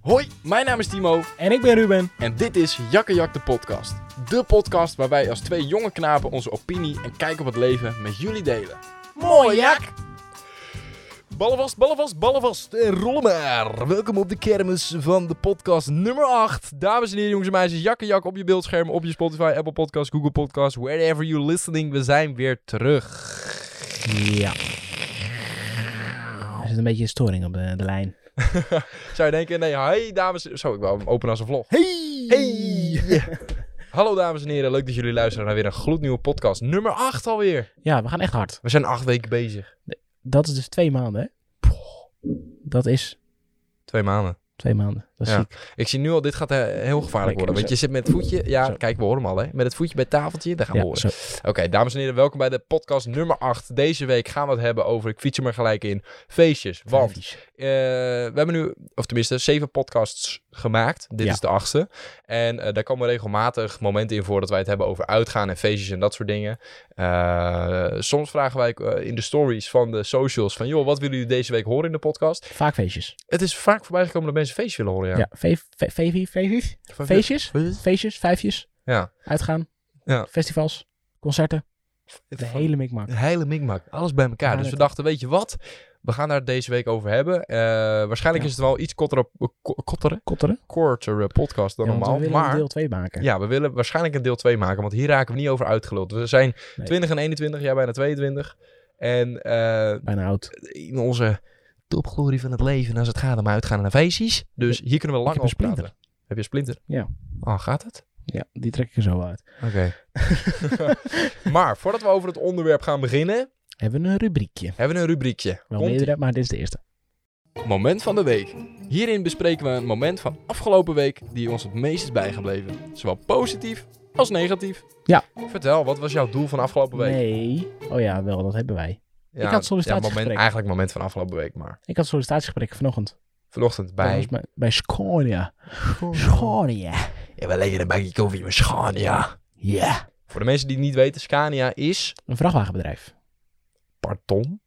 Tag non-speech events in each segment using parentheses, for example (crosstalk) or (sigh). Hoi, mijn naam is Timo En ik ben Ruben. en dit is Jakkejak de podcast. De podcast waar wij als twee jonge knapen onze opinie en kijk op het leven met jullie delen. Mooi, Jak. Ballen vast, ballen vast, ballen vast en rollen maar. Welkom op de kermis van de podcast nummer 8. Dames en heren, jongens en meisjes, Jakkejak op je beeldscherm, op je Spotify, Apple Podcast, Google Podcast, wherever you're listening. We zijn weer terug. Ja. Er zit een beetje storing op de, de lijn. Zou je denken, nee, hi dames. Zo, ik wou hem openen als een vlog. Hey! Hey! Hallo dames en heren, leuk dat jullie luisteren naar weer een gloednieuwe podcast. Nummer 8 alweer. Ja, we gaan echt hard. We zijn acht weken bezig. Dat is dus twee maanden, hè? Dat is Twee maanden. twee maanden. Dat is Ja. ziek. Ik zie nu al, dit gaat eh, heel gevaarlijk Kijk, worden. Want zo. je zit met het voetje. Ja, Zo. kijk, we horen hem al, hè? Met het voetje bij het tafeltje. Daar gaan we Ja, horen. zo. Oké, dames en heren, welkom bij de podcast nummer 8. Deze week gaan we het hebben over, ik fiets er maar gelijk in, feestjes. Want eh, we hebben nu, of tenminste, zeven podcasts gemaakt. Dit Ja. is de achtste. En eh, daar komen regelmatig momenten in voor dat wij het hebben over uitgaan en feestjes en dat soort dingen. Eh, soms vragen wij eh, in de stories van de socials van, joh, wat willen jullie deze week horen in de podcast? Vaak feestjes. Het is vaak voorbijgekomen dat mensen feestjes willen horen, ja. Ja, ve- ve- ve- feestjes. Van- Feestjes. Feestjes? Feestjes, vijfjes. Ja. Uitgaan. Ja. Festivals. Concerten. De Van- hele mikmak. Een hele mikmak. Alles bij elkaar. Ja, dus we dat- dachten, weet je wat? We gaan daar het deze week over hebben. Eh, waarschijnlijk Ja. is het wel iets kortere, ko- kortere, Kotteren. kortere podcast dan Ja, want we normaal. willen maar een deel 2 maken. ja, we willen waarschijnlijk een deel 2 maken. Want hier raken we niet over uitgeluld. We zijn Nee. 20 en 21, jij bijna 22. En eh, Bijna oud. in onze topglorie van het leven als het gaat om uitgaan naar feestjes. Dus hier kunnen we lang heb een over praten. Heb je een splinter? Ja. Oh, gaat het? Ja, die trek ik er zo uit. Oké. (laughs) maar voordat we over het onderwerp gaan beginnen, Hebben we een rubriekje. hebben we een rubriekje. Wel Komt-ie. meerdere, maar dit is de eerste. Moment van de week. Hierin bespreken we een moment van afgelopen week die ons het meest is bijgebleven. Zowel positief als negatief. Ja. Vertel, wat was jouw doel van afgelopen week? Nee. Oh ja, wel, dat hebben wij. Ja, ik had sollicitatiegesprek. Ja, moment, eigenlijk moment van afgelopen week, maar Ik had sollicitatiegesprekken vanochtend. vanochtend Dat bij... Oh. was Bij, bij Scania. Scania. Ik ben lekker een bakje koffie met Scania. Ja. Voor de mensen die het niet weten, Scania is... Een vrachtwagenbedrijf. Pardon?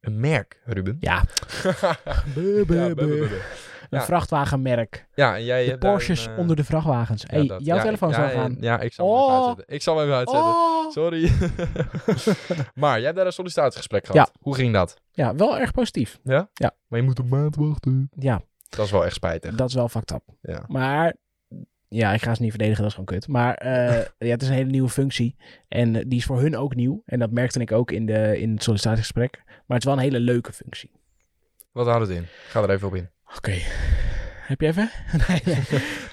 Een merk, Ruben. (laughs) Ja. Ja, buh, buh, buh, buh. Een Ja. vrachtwagenmerk. Ja, en jij De hebt daar Porsches een, eh, onder de vrachtwagens. ja, hey, dat. jouw Ja, telefoon ik- zou ja, gaan. en- Ja, ik zal hem even Oh. uitzetten. Ik zal hem even uitzetten. Oh. Sorry. (laughs) maar jij hebt daar een sollicitatiegesprek gehad. Hoe ging dat? Ja, wel erg positief. Maar je moet een maand wachten. Ja, Dat is wel echt spijtig. dat is wel fucked up. Ja. Maar, ja, ik ga ze niet verdedigen, dat is gewoon kut. (laughs) Maar eh, ja, het is een hele nieuwe functie. En eh, die is voor hun ook nieuw. En dat merkte ik ook in, de, in het sollicitatiegesprek. Maar het is wel een hele leuke functie. Wat houdt het in? Ga er even op in. Oké. Heb je even? (laughs) nee, (laughs) nee.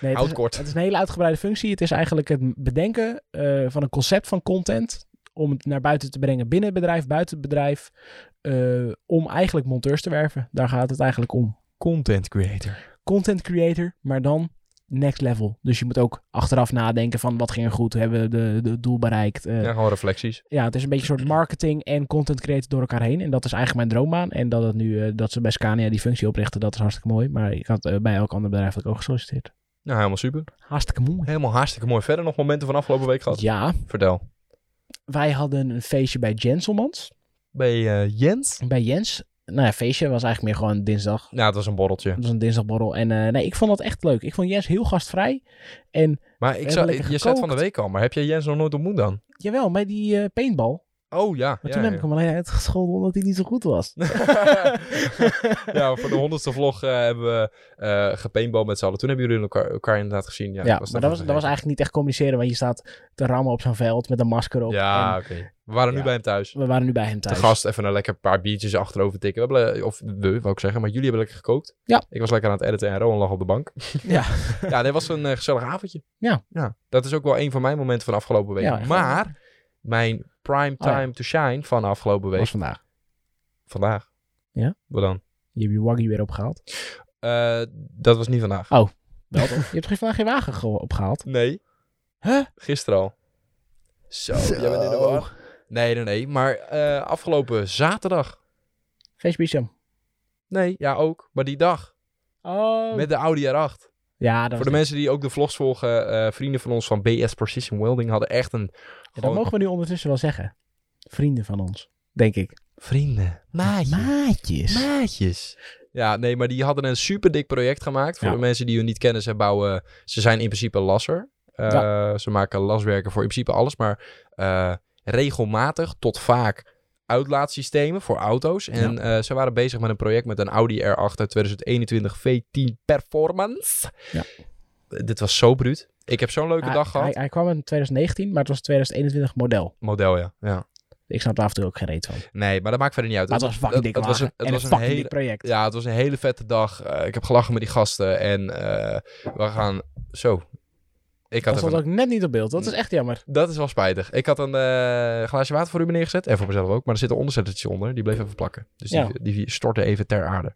nee het, Houd is, kort. het is een hele uitgebreide functie. Het is eigenlijk het bedenken eh, van een concept van content. Om het naar buiten te brengen binnen het bedrijf, buiten het bedrijf. eh, om eigenlijk monteurs te werven. Daar gaat het eigenlijk om. Content creator. Content creator, maar dan next level. Dus je moet ook achteraf nadenken van wat ging er goed? Hebben we de, de doel bereikt? eh, Ja, ja. gewoon reflecties. het is een beetje een soort marketing en content creator door elkaar heen. En dat is eigenlijk mijn droombaan. En dat, het nu, eh, dat ze bij Scania die functie oprichten, dat is hartstikke mooi. Maar ik had eh, bij elk ander bedrijf had ik ook gesolliciteerd. Nou, helemaal super. Hartstikke mooi. Helemaal hartstikke mooi. Verder nog momenten van afgelopen week gehad. Ja, Vertel. wij hadden een feestje bij Genselmans. Bij eh, Jens? Bij Jens. Nou ja, feestje was eigenlijk meer gewoon dinsdag. Nou, het was een borreltje. Dat was een dinsdagborrel. En eh, nee, ik vond dat echt leuk. Ik vond Jens heel gastvrij. En Maar ik hebben zou, lekker je zei het van de gekookt. week al, maar heb jij Jens nog nooit ontmoet dan? jawel, bij die eh, paintball. Oh ja. Maar ja, toen heb ja. ik hem alleen uitgescholden omdat hij niet zo goed (laughs) was. (laughs) ja, voor de honderdste vlog eh, hebben we eh gepaintball met z'n allen. Toen hebben jullie elkaar, elkaar inderdaad gezien. Ja, Ja, ik maar dat dat nog was, dat was vergeten. eigenlijk niet echt communiceren. Want je staat te rammen op zo'n veld met een masker op. Ja, En oké. We waren nu Ja. bij hem thuis. we waren nu bij hem thuis. De gast even een lekker paar biertjes achterover tikken. We hebben, le- of we, wou ik zeggen, maar jullie hebben lekker gekookt. Ja. Ik was lekker aan het editen en Rowan lag op de bank. (laughs) Ja. (laughs) ja, dit was een eh, gezellig avondje. Ja. ja. Dat is ook wel een van mijn momenten van afgelopen week. Ja, echt wel. maar mijn prime Oh, ja. time to shine van afgelopen week, was vandaag. vandaag. Ja? Wat dan? Je hebt je waggy weer opgehaald. Eh, dat was niet Oh. vandaag. Wel toch? je hebt geen- vandaag geen wagen ge- opgehaald. Nee. Huh? Gisteren al. Zo, jij bent in de war. Nee, nee, nee. Maar eh, afgelopen zaterdag. Feestje Bicham. Nee, ja ook. Maar die dag. Oh. Met de Audi R8. Ja, dat was Voor de mensen die ook de vlogs volgen, eh, vrienden van ons van BS Precision Welding hadden echt een... Ja, gewoon- dat mogen we nu ondertussen wel zeggen. Vrienden van ons, denk ik. Vrienden. Maatjes. Maatjes. Maatjes. Ja, Ja, nee, maar die hadden een super dik project gemaakt. Voor Ja. de mensen die hun niet kennen, ze bouwen... Ze zijn in principe lasser. Eh, Ze maken laswerken voor in principe alles. Maar eh, regelmatig tot vaak uitlaatsystemen voor auto's. En eh, ze waren bezig met een project met een Audi R8 uit 2021 V10 Performance. Ja. Eh, Dit was zo bruut. Ik heb zo'n leuke Hij- dag gehad. Hij, hij kwam in 2019, maar het was 2021 model. Model, ja. ja. Ik snap daar af en toe ook geen reet van. Nee, maar dat maakt verder niet uit. Maar het was een fucking dik het was een, wagen het en was een een fucking hele, dik project. Ja, het was een hele vette dag. Eh, ik heb gelachen met die gasten. En eh, we gaan... Zo. Ik had even... Dat Mm. stond ook net niet op beeld. Dat is echt jammer. Dat is wel spijtig. Ik had een eh, glaasje water voor u neergezet. En voor mezelf ook. Maar er zit een onderzettertje onder. Die bleef even plakken. Dus Ja. die, die stortte even ter aarde.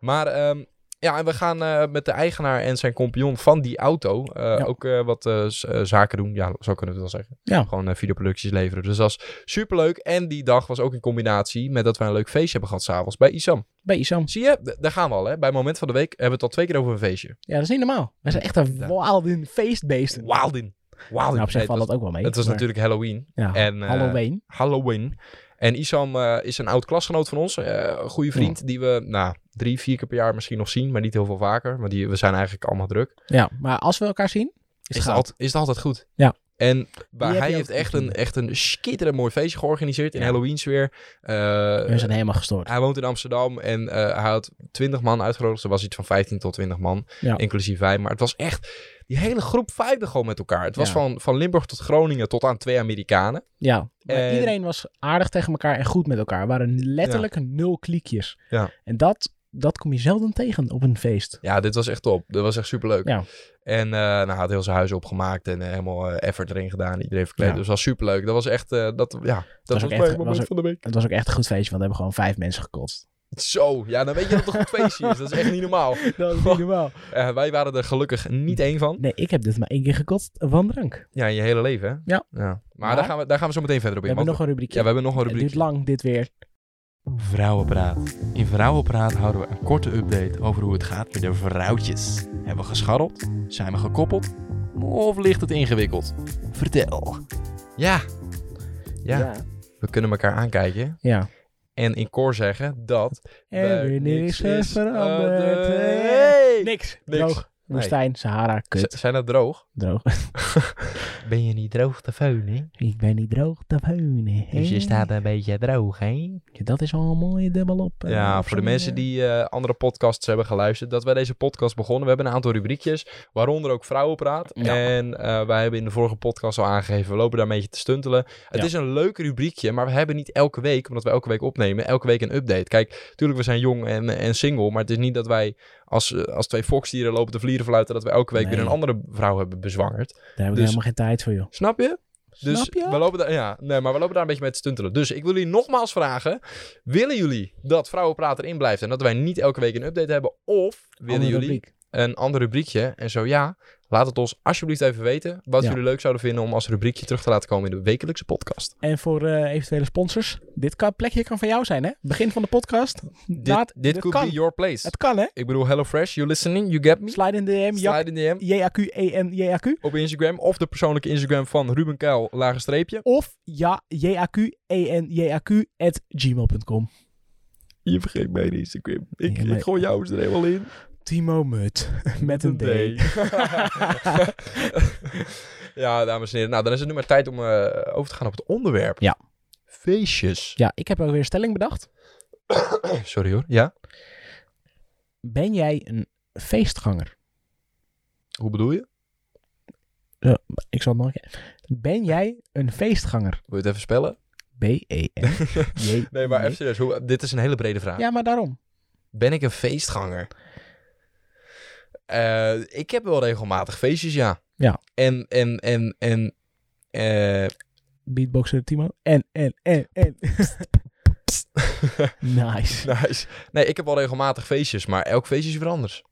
Maar ehm, ja, en we gaan eh, met de eigenaar en zijn compagnon van die auto eh, Ja. ook eh, wat eh, z- eh, zaken doen. Ja, zo kunnen we het wel zeggen. Ja. Gewoon eh, videoproducties leveren. Dus dat is superleuk. En die dag was ook in combinatie met dat we een leuk feestje hebben gehad s'avonds bij Isam. Bij Isam. Zie je, D- daar gaan we al hè. Bij moment van de week hebben we het al twee keer over een feestje. Ja, dat is niet normaal. Wij zijn echt een Ja. wild in feestbeesten. Wildin. Wildin. Nou, op zich Nee, valt het was, dat ook wel mee. het was maar- natuurlijk Halloween. Ja, En, eh, Halloween. Halloween. En Isam eh, is een oud klasgenoot van ons. eh, een goede vriend die we nou, drie, vier keer per jaar misschien nog zien. Maar niet heel veel vaker. Maar die, we zijn eigenlijk allemaal druk. Ja, maar als we elkaar zien, is Is, het het, goud. altijd, is het altijd goed. Ja. En waar heb hij je heeft ook echt gezien. een, echt een schitterend mooi feestje georganiseerd. In Ja. Halloween sfeer. Eh, We zijn helemaal gestoord. hij woont in Amsterdam en eh, hij had 20 man uitgenodigd. Er was iets van 15 tot 20 man, Ja. inclusief wij. Maar het was echt die hele groep vijfde gewoon met elkaar. Het was Ja. van, van Limburg tot Groningen tot aan twee Amerikanen. Ja, maar En- iedereen was aardig tegen elkaar en goed met elkaar. Er waren letterlijk nul kliekjes. Ja. En dat, dat kom je zelden tegen op een feest. Ja, dit was echt top. Dat was echt superleuk. Ja. En eh nou, hij had heel zijn huis opgemaakt en eh, helemaal eh, effort erin gedaan. Iedereen verkleed. Ja. Dus dat was superleuk. Dat was echt, eh, dat, ja, dat, was, ook echt- mijn was moment ook- van de week. Het was ook echt een goed feestje, want we hebben gewoon vijf mensen (laughs) gekotst. Zo, ja, dan weet je dat het een goed feestje is. Dat is echt niet normaal. Dat niet normaal. Eh, wij waren er gelukkig niet één van. Nee, ik heb dit maar één keer gekotst van drank. We Ja, in je hele leven, hè? Ja. Maar, Maar- daar, gaan we, daar gaan we zo meteen verder op in. hebben want- nog een rubriekje. Ja, we hebben nog een het rubriek. duurt lang, dit weer. Vrouwenpraat. In Vrouwenpraat houden we een korte update over hoe het gaat met de vrouwtjes. Hebben we gescharreld? Zijn we gekoppeld? Of ligt het ingewikkeld? Vertel. Ja. Ja, we kunnen elkaar aankijken ja. en in koor zeggen dat... Er er weer niks is veranderd. Hey! Niks. Niks. Droog. Nee. Woestijn, Sahara, kut. Z- zijn dat droog? Droog. (laughs) Ben je niet droog te feun, hè? ik ben niet droog te wonen. Dus hè? een beetje droog, hè? Ja, Dat is al een mooie dubbel op. eh, Ja, op voor de zo'n, mensen eh, die eh, andere podcasts hebben geluisterd, dat wij deze podcast begonnen. We hebben een aantal rubriekjes, waaronder ook Vrouwenpraat. Ja. En eh, wij hebben in de vorige podcast al aangegeven, we lopen daar een beetje te stuntelen. Het Ja. is een leuk rubriekje, maar we hebben niet elke week, omdat we elke week opnemen, elke week een update. Kijk, natuurlijk, we zijn jong en, en single, maar het is niet dat wij als, eh, als twee foxdieren lopen te vlieren fluiten, dat we elke week weer Nee. een andere vrouw hebben bezwangerd. Daar hebben we dus- helemaal geen tijd voor, joh. Snap je? Dus Snap je? we lopen daar, ja, nee, maar we lopen daar een beetje mee te stuntelen. Dus ik wil jullie nogmaals vragen: willen jullie dat Vrouwenpraat erin blijft en dat wij niet elke week een update hebben? Of willen Andere jullie rubriek. een ander rubriekje? En zo ja, laat het ons alsjeblieft even weten wat Ja. jullie leuk zouden vinden om als rubriekje terug te laten komen in de wekelijkse podcast. En voor eh, eventuele sponsors, dit ka- plekje kan van jou zijn, hè? Begin van de podcast. Dit, Laat- dit dit could kan. be your place. Het kan, hè? Ik bedoel, HelloFresh, you listening, you get me. Slide in de DM, Jak- Slide in DM JAQ, EN, JAQ. op Instagram of de persoonlijke Instagram van Ruben Kuil, lage streepje. Of ja, JAQ, EN, JAQ, at gmail.com. Je vergeet mijn Instagram. Ik, Ja, maar- ik gooi jou er helemaal in. Timo Mut, (laughs) met een D. (laughs) ja, dames en heren. Nou, dan is het nu maar tijd om eh, over te gaan op het onderwerp. Ja. Feestjes. Ja, ik heb ook weer een stelling bedacht. Sorry hoor. Ja? Ben jij een feestganger? Hoe bedoel je? Ik zal het nog een keer. Ben jij een feestganger? E Wil je het even spellen? B-E-N. J- (laughs) Nee, maar even serieus. Hoe, dit is een hele brede vraag. Ja, maar daarom. Ben ik een feestganger? Eh, ik heb wel regelmatig feestjes, ja. Ja. En, en, en, (laughs) en... eh, Beatboxer Timo. En, en, en, en. pst. Nice. nice. Nee, ik heb wel regelmatig feestjes, maar elk feestje is weer anders.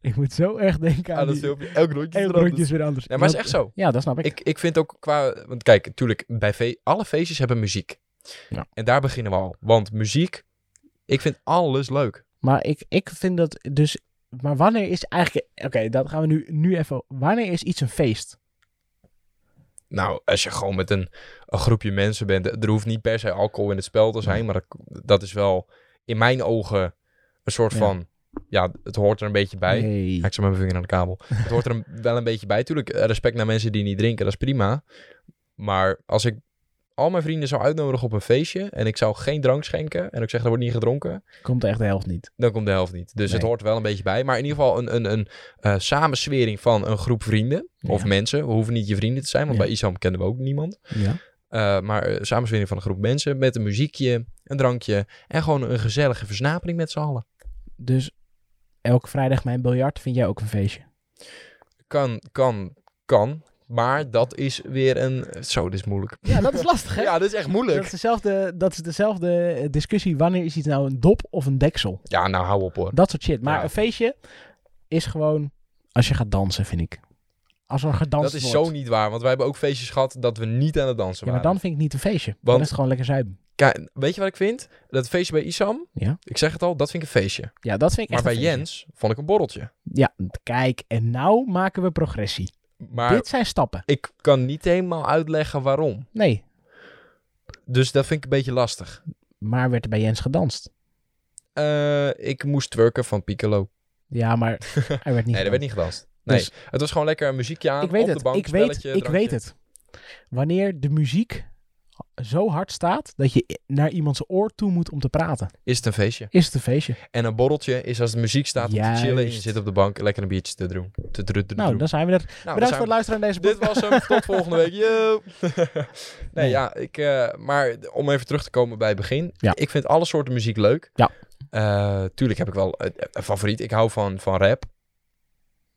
Ik moet zo erg denken aan Aan dat die... filmpje. Elk rondje is Elk weer anders. rondje is weer anders. Nee, dus- maar het Ja, is echt zo. Ja, dat snap ik. Ik, ik vind ook qua... Want kijk, natuurlijk, bij fe- alle feestjes hebben muziek. Ja. En daar beginnen we al. Want muziek, ik vind alles leuk. Maar ik, ik vind dat dus... Maar wanneer is eigenlijk... Oké, dat gaan we nu, nu even... Wanneer is iets een feest? Nou, als je gewoon met een, een groepje mensen bent... Er hoeft niet per se alcohol in het spel te zijn. Maar dat, dat is wel in mijn ogen een soort Ja. van... Ja, het hoort er een beetje bij. Hey. Ja, ik zet met mijn vinger naar de kabel. Het hoort er (laughs) een- wel een beetje bij. Tuurlijk, eh, respect naar mensen die niet drinken, dat is prima. Maar als ik al mijn vrienden zou uitnodigen op een feestje... en ik zou geen drank schenken... en ik zeg, er wordt niet gedronken... Komt echt de helft niet. dan komt de helft niet. Dus Nee. het hoort er wel een beetje bij. Maar in ieder geval een, een, een eh, samenswering van een groep vrienden... of Ja. mensen. We hoeven niet je vrienden te zijn... want Ja. bij Isam kennen we ook niemand. Ja. Eh, maar eh, samenswering van een groep mensen... met een muziekje, een drankje... en gewoon een gezellige versnapering met z'n allen. Dus elke vrijdag mijn biljart vind jij ook een feestje. Kan, kan, kan. Maar dat is weer een... Zo, dit is moeilijk. Ja, dat is lastig, hè? Ja, dit is echt dat, moeilijk. is dezelfde, dat is dezelfde eh, discussie. Wanneer is iets nou een dop of een deksel? Ja, nou hou op hoor. Dat soort shit. Maar Ja. een feestje is gewoon als je gaat dansen, vind ik. Als er gedanst Dat is wordt. zo niet waar, want wij hebben ook feestjes gehad dat we niet aan het dansen Ja, maar waren. dan vind ik het niet een feestje. Dan Want- is het gewoon lekker zuipen. Kijk, weet je wat ik vind? Dat feestje bij Isam, Ja. ik zeg het al, dat vind ik een feestje. Ja, dat vind ik maar bij echt een feestje. Jens vond ik een borreltje. Ja, kijk. En nou maken we progressie. Maar Dit zijn stappen. ik kan niet helemaal uitleggen waarom. Nee, Dus dat vind ik een beetje lastig. maar werd er bij Jens gedanst. Eh, ik moest twerken van Piccolo. (laughs) Ja, maar hij werd niet nee, dat werd gedanst. niet gedanst. Nee, Dus- het was gewoon lekker een muziekje aan ik weet op het, de bank, ik weet, spelletje, ik weet drankje. het. Wanneer de muziek zo hard staat dat je naar iemands oor toe moet om te praten, Is het een feestje. is het een feestje. En een borreltje is als de muziek staat om te chillen en je Juist. zit op de bank lekker een biertje te doen. Te dru- te Nou, doen. dan zijn we er. Nou, Bedankt dan zijn voor het luisteren naar deze Dit podcast. was hem. Tot volgende week. (laughs) Yo. nee, Nee. ja, ik, eh, maar om even terug te komen bij het begin. Ja. Ik vind alle soorten muziek leuk. Ja. Eh, tuurlijk heb ik wel eh, een favoriet. Ik hou van, van rap,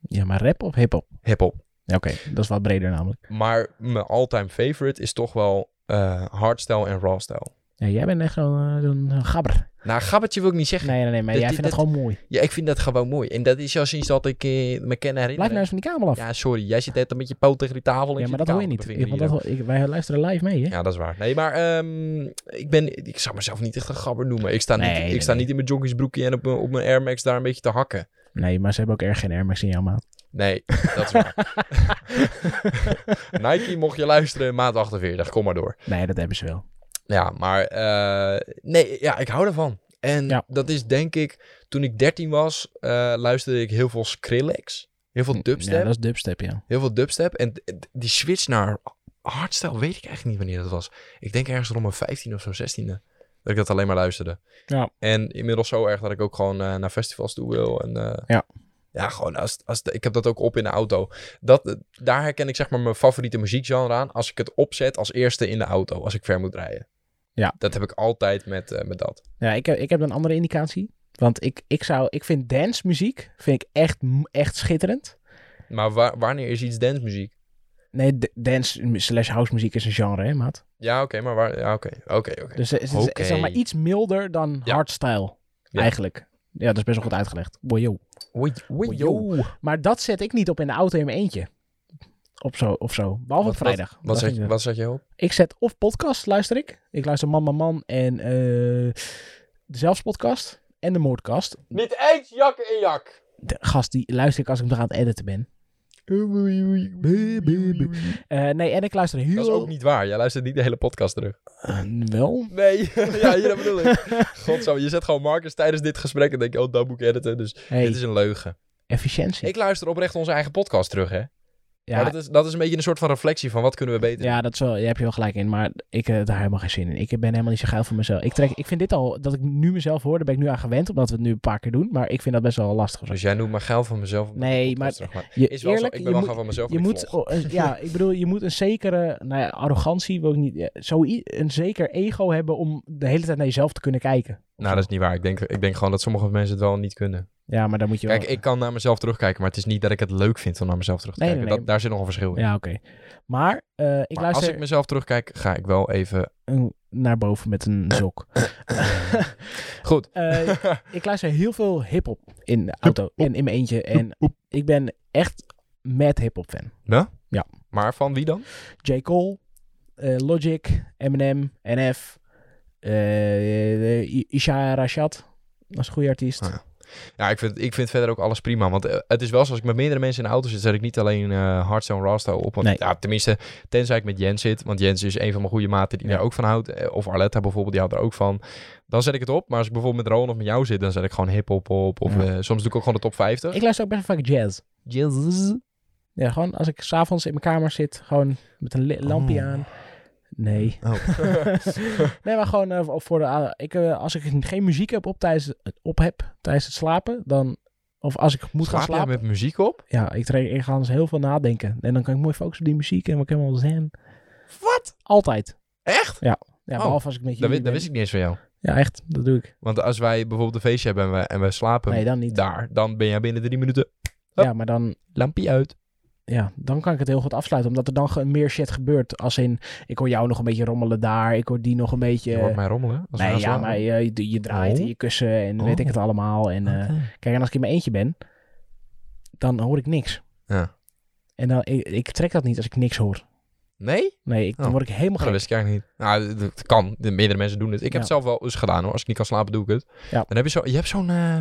Ja, maar rap of hip-hop? hip-hop. Ja, Oké, dat is wat breder namelijk. Maar mijn all-time favorite is toch wel eh, hardstyle en rawstyle. Ja, jij bent echt zo'n eh, zo'n gabber. Nou, gabbertje wil ik niet zeggen. Nee, nee, nee, maar Dit- jij dit- vindt het gewoon mooi. Ja, ik vind dat gewoon mooi. En dat is al sinds dat ik eh, me ken herinneren. Blijf nou eens van die kabel af. Ja, Ja, sorry. Jij zit net met je poot tegen die tafel. en maar zit dat die hoor kabel je niet. te Ik, bevingeren want hier dat, hoor- ik, wij luisteren live mee, hè? Ja, dat is waar. Nee, maar ehm, ik, ben, ik zou mezelf niet echt een gabber noemen. Ik sta, Nee, niet, ik nee, sta nee. niet in mijn joggingsbroekje en op mijn, op mijn Air Max daar een beetje te hakken. Nee, maar ze hebben ook erg geen Air Max in jouw maat. (laughs) Nee, dat is waar. (laughs) Nike mocht je luisteren, maat 48. Kom maar door. Nee, dat hebben ze wel. Ja, maar eh, nee, ja, ik hou ervan. En Ja. dat is denk ik, toen ik 13 was, eh, luisterde ik heel veel Skrillex. Heel veel dubstep. Ja, dat is dubstep, ja. Heel veel dubstep. En d- d- die switch naar hardstyle weet ik eigenlijk niet wanneer dat was. Ik denk ergens rond mijn 15 of zo, 16e. Dat ik dat alleen maar luisterde. Ja. En inmiddels zo erg dat ik ook gewoon eh, naar festivals toe wil. En, eh, Ja. Ja, gewoon als, als de- ik heb dat ook op in de auto. Dat, eh, daar herken ik zeg maar mijn favoriete muziekgenre aan. Als ik het opzet als eerste in de auto, als ik ver moet rijden. Ja. Dat heb ik altijd met, eh, met dat. Ja, ik heb, ik heb een andere indicatie. Want ik, ik, zou, ik vind dance muziek vind ik echt, m- echt schitterend. Maar wa- wanneer is iets dancemuziek? Nee, d- dance slash house muziek is een genre, hè, maat? Ja, oké, maar waar... Ja, oké, oké, oké. Dus het is, het is Oké. zeg maar iets milder dan Ja. hardstyle, Ja. eigenlijk. Ja, dat is best wel goed uitgelegd. Wojo. Oei, oei, Wojo. joh. Maar dat zet ik niet op in de auto in mijn eentje. Of zo, of zo. Behalve op Wat- vrijdag. Dat Wat, vind zet, ik- je- wat zet je op? Ik zet of podcast luister ik. Ik luister Man Man Man en eh, de Zelfspodcast en de Moordcast. Niet eens jakken in jak. De gast die luister ik als ik nog aan het editen ben. Eh, nee, en ik luister heel... Dat is ook niet waar. Jij luistert niet de hele podcast terug. Eh, wel. Nee, (laughs) ja, hier dat bedoel ik. Godzo, je zet gewoon Marcus tijdens dit gesprek en denk je, oh, dat moet ik editen. Dus Hey, dit is een leugen. efficiëntie. Ik luister oprecht onze eigen podcast terug, hè. ja, Maar dat is, dat is een beetje een soort van reflectie van wat kunnen we beter. doen. ja, dat is wel, daar heb je wel gelijk in. Maar ik heb daar helemaal geen zin in. Ik ben helemaal niet zo geil voor mezelf. Ik, trek, ik vind dit al, dat ik nu mezelf hoor, daar ben ik nu aan gewend. Omdat we het nu een paar keer doen. Maar ik vind dat best wel lastig. of zo. Dus jij noemt maar geil van mezelf. omdat Nee, ik de podcast terug maak. Je, Is wel eerlijk, zo, ik ben je wel moet- geil van mezelf. Je want ik moet, volg. oh, eh, (laughs) ja, ik bedoel, je moet een zekere nou ja, arrogantie, wil ik niet, eh, zo, een zeker ego hebben om de hele tijd naar jezelf te kunnen kijken. Nou, dat is niet waar. Ik denk, ik denk gewoon dat sommige mensen het wel niet kunnen. Ja, maar dan moet je Kijk, wel... ik kan naar mezelf terugkijken, maar het is niet dat ik het leuk vind om naar mezelf terug te Nee, nee, kijken. nee. Dat, daar zit nog een verschil in. Ja, oké. Maar eh, ik maar luister... als ik mezelf terugkijk, ga ik wel (laughs) even... een- naar boven met een sok. (coughs) Goed. Eh, ik luister heel veel hip-hop in de auto en in mijn eentje. En ik ben echt mad hip-hop fan. maar van wie dan? J. Cole, eh, Logic, Eminem, NF, eh, eh, I- Isha Rashad. Dat is een goede artiest. Ah, ja. Ja, ik vind, ik vind verder ook alles prima. Want eh, het is wel zo, als ik met meerdere mensen in de auto zit, zet ik niet alleen eh Hardstone Rasta op. Want, Nee. ja, tenminste, tenzij ik met Jens zit. Want Jens is een van mijn goede maten die Ja. daar ook van houdt. eh, Of Arletta bijvoorbeeld, die houdt er ook van. Dan zet ik het op. Maar als ik bijvoorbeeld met Rowan of met jou zit, dan zet ik gewoon hip-hop op. Of Ja. eh, soms doe ik ook gewoon de top 50. Ik luister ook best wel vaak jazz. Jens. Ja, gewoon als ik s'avonds in mijn kamer zit, gewoon met een li- lampje Oh. aan. Nee. (laughs) Oh. Nee, maar gewoon eh, voor de. a- ik, eh, als ik geen muziek heb op tijdens, op heb tijdens het slapen, dan. Of als ik moet gaan Slaap jij slapen. met muziek op? Ja, ik, tra- ik ga anders heel veel nadenken. En dan kan ik mooi focussen op die muziek en wat ik helemaal zen. Wat? Altijd. Echt? Ja, Oh, behalve als ik met Dat, jullie wi- dat ben. wist ik niet eens van jou. Ja, echt. Dat doe ik. Want als wij bijvoorbeeld een feestje hebben en wij, en wij slapen Nee, dan niet. daar, dan ben jij binnen drie minuten Hup. Ja, maar dan, lampje uit. ja, dan kan ik het heel goed afsluiten. Omdat er dan ge- meer shit gebeurt. Als in, ik hoor jou nog een beetje rommelen daar. Ik hoor die nog een beetje... Je hoort mij rommelen. Als we nee, gaan ja, slapen. maar je, je- je draait Oh. en je kussen en Oh. weet ik het allemaal. En, eh, Oké. Kijk, en als ik in mijn eentje ben, dan hoor ik niks. Ja. En dan, ik, ik trek dat niet als ik niks hoor. Nee? Nee, ik, dan Oh. word ik helemaal Oh, dat gek. wist ik eigenlijk niet. Nou, d- het kan. De meerdere mensen doen het. Ik Ja. heb het zelf wel eens gedaan hoor. Als ik niet kan slapen, doe ik het. Ja. Dan heb je, zo, je hebt zo'n eh,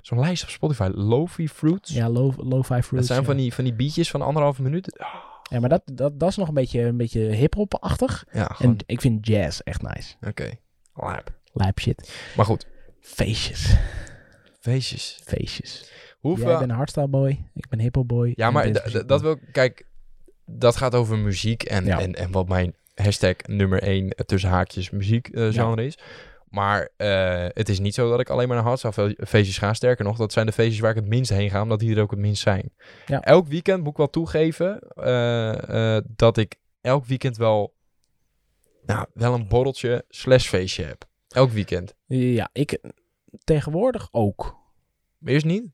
zo'n lijst op Spotify. Lofi Fruits. Ja, low, low five dat fruits. zijn ja. van, die, van die beatjes van anderhalve minuut. Ah, Ja, maar dat, dat, dat is nog een beetje, een beetje hip-hop-achtig. Ja, En gewoon. ik vind jazz echt nice. Oké. Lijp. Lijp shit. Maar goed. Feestjes. Feestjes. Feestjes. Hoeveel... Jij bent een hardstyle boy. Ik ben hip-hop boy. Ja, en maar Ben's d- d- muziek dat boy. wil... Kijk, dat gaat over muziek en, Ja. en, en wat mijn hashtag nummer 1 tussen haakjes muziekgenre genre is. Maar eh, het is niet zo dat ik alleen maar naar hardstyle feestjes ga. Sterker nog, dat zijn de feestjes waar ik het minst heen ga, omdat die er ook het minst zijn. Ja. Elk weekend moet ik wel toegeven eh, eh, dat ik elk weekend wel, nou, wel een borreltje slash feestje heb. Elk weekend. Ja, ik tegenwoordig ook. Eerst niet?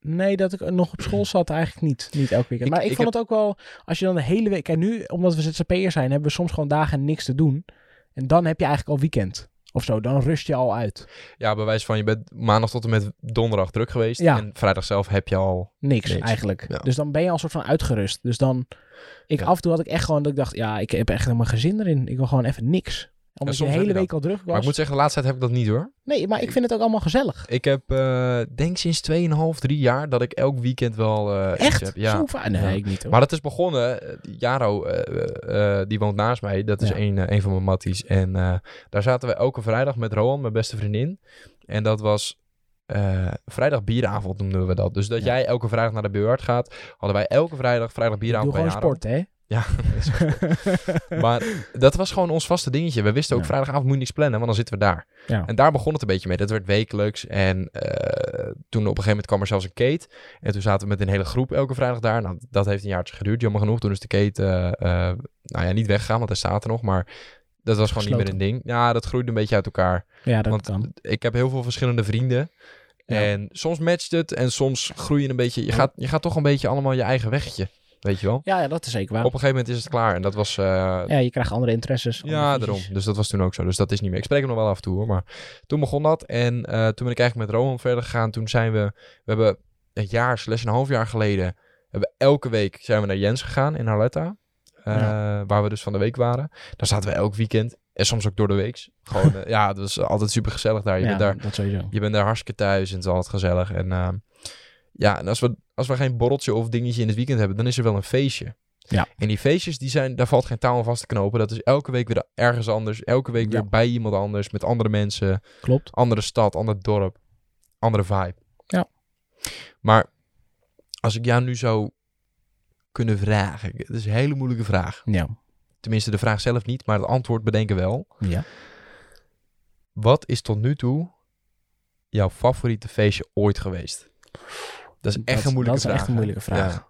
Nee, dat ik nog op (clears throat) school zat eigenlijk niet. Niet elke weekend. Ik- maar ik, ik vond het ook wel, als je dan de hele week... Kijk, nu, omdat we ZZP'er zijn, hebben we soms gewoon dagen niks te doen. En dan heb je eigenlijk al weekend. Of zo, dan rust je al uit. Ja, bij wijze van je bent maandag tot en met donderdag druk geweest. Ja. En vrijdag zelf heb je al... Niks, Niks. eigenlijk. Ja. Dus dan ben je al een soort van uitgerust. Dus dan, ik Ja. af en toe had ik echt gewoon dat ik dacht... Ja, ik heb echt helemaal geen zin erin. Ik wil gewoon even niks. Omdat je soms de heb hele je week al druk was. Maar ik moet zeggen, de laatste tijd heb ik dat niet hoor. Nee, maar ik vind het ook allemaal gezellig. Ik heb, eh, denk sinds 2,5, 3 jaar dat ik elk weekend wel eh, iets Echt? heb. Ja. Zo vaak? Nee, Ja. ik niet hoor. Maar dat is begonnen. eh, Jaro, eh, eh, die woont naast mij. Dat is Ja. een, eh, een van mijn matties. En eh, daar zaten we elke vrijdag met Roan, mijn beste vriendin. En dat was eh, vrijdag bieravond noemden we dat. Dus dat Ja. jij elke vrijdag naar de beurt gaat, hadden wij elke vrijdag vrijdag Ik doe bieravond bij gewoon Jaro. sport, hè? (laughs) Ja, (laughs) dat is Maar dat was gewoon ons vaste dingetje. We wisten ook Ja. vrijdagavond moet je niks plannen, want dan zitten we daar. Ja. En daar begon het een beetje mee. Dat werd wekelijks. En eh, toen op een gegeven moment kwam er zelfs een Kate. En toen zaten we met een hele groep elke vrijdag daar. Nou, dat heeft een jaartje geduurd, jammer genoeg. Toen is de Kate, eh, eh, nou ja, niet weggegaan, want hij staat er nog. Maar dat was gewoon niet Gesloten. meer een ding. Ja, dat groeide een beetje uit elkaar. ja, dat Want- kan. Ik heb heel veel verschillende vrienden. Ja. En soms matcht het en soms groei je een beetje. Je gaat, je gaat toch een beetje allemaal je eigen weggetje. Weet je wel? Ja, ja, dat is zeker Op waar. een gegeven moment is het klaar. En dat was, eh, Ja, je krijgt andere interesses. andere ja, visies. daarom. Dus dat was toen ook zo. Dus dat is niet meer. Ik spreek hem nog wel af en toe hoor. Maar toen begon dat. En eh, toen ben ik eigenlijk met Roman verder gegaan. Toen zijn we... We hebben een jaar slash een half jaar geleden... Hebben we elke week zijn we naar Jens gegaan in Arletta. eh, Waar we dus van de week waren. Daar zaten we elk weekend. En soms ook door de week. Gewoon, eh, ja, het was altijd super gezellig daar. Je, ja, bent daar, dat sowieso. je bent daar hartstikke thuis en het is altijd gezellig. En ehm, ja, en als we, als we geen borreltje of dingetje in het weekend hebben... dan is er wel een feestje. Ja. En die feestjes, die zijn, daar valt geen taal aan vast te knopen. Dat is elke week weer ergens anders. Elke week weer Ja. bij iemand anders. Met andere mensen. Klopt. Andere stad, ander dorp. Andere vibe. Ja. Maar als ik jou nu zou kunnen vragen. Het is een hele moeilijke vraag. Ja. Tenminste, de vraag zelf niet. Maar het antwoord bedenken wel. ja. Wat is tot nu toe jouw favoriete feestje ooit geweest? Dat is echt Dat- een moeilijke dat is vraag. echt hè? een moeilijke vraag.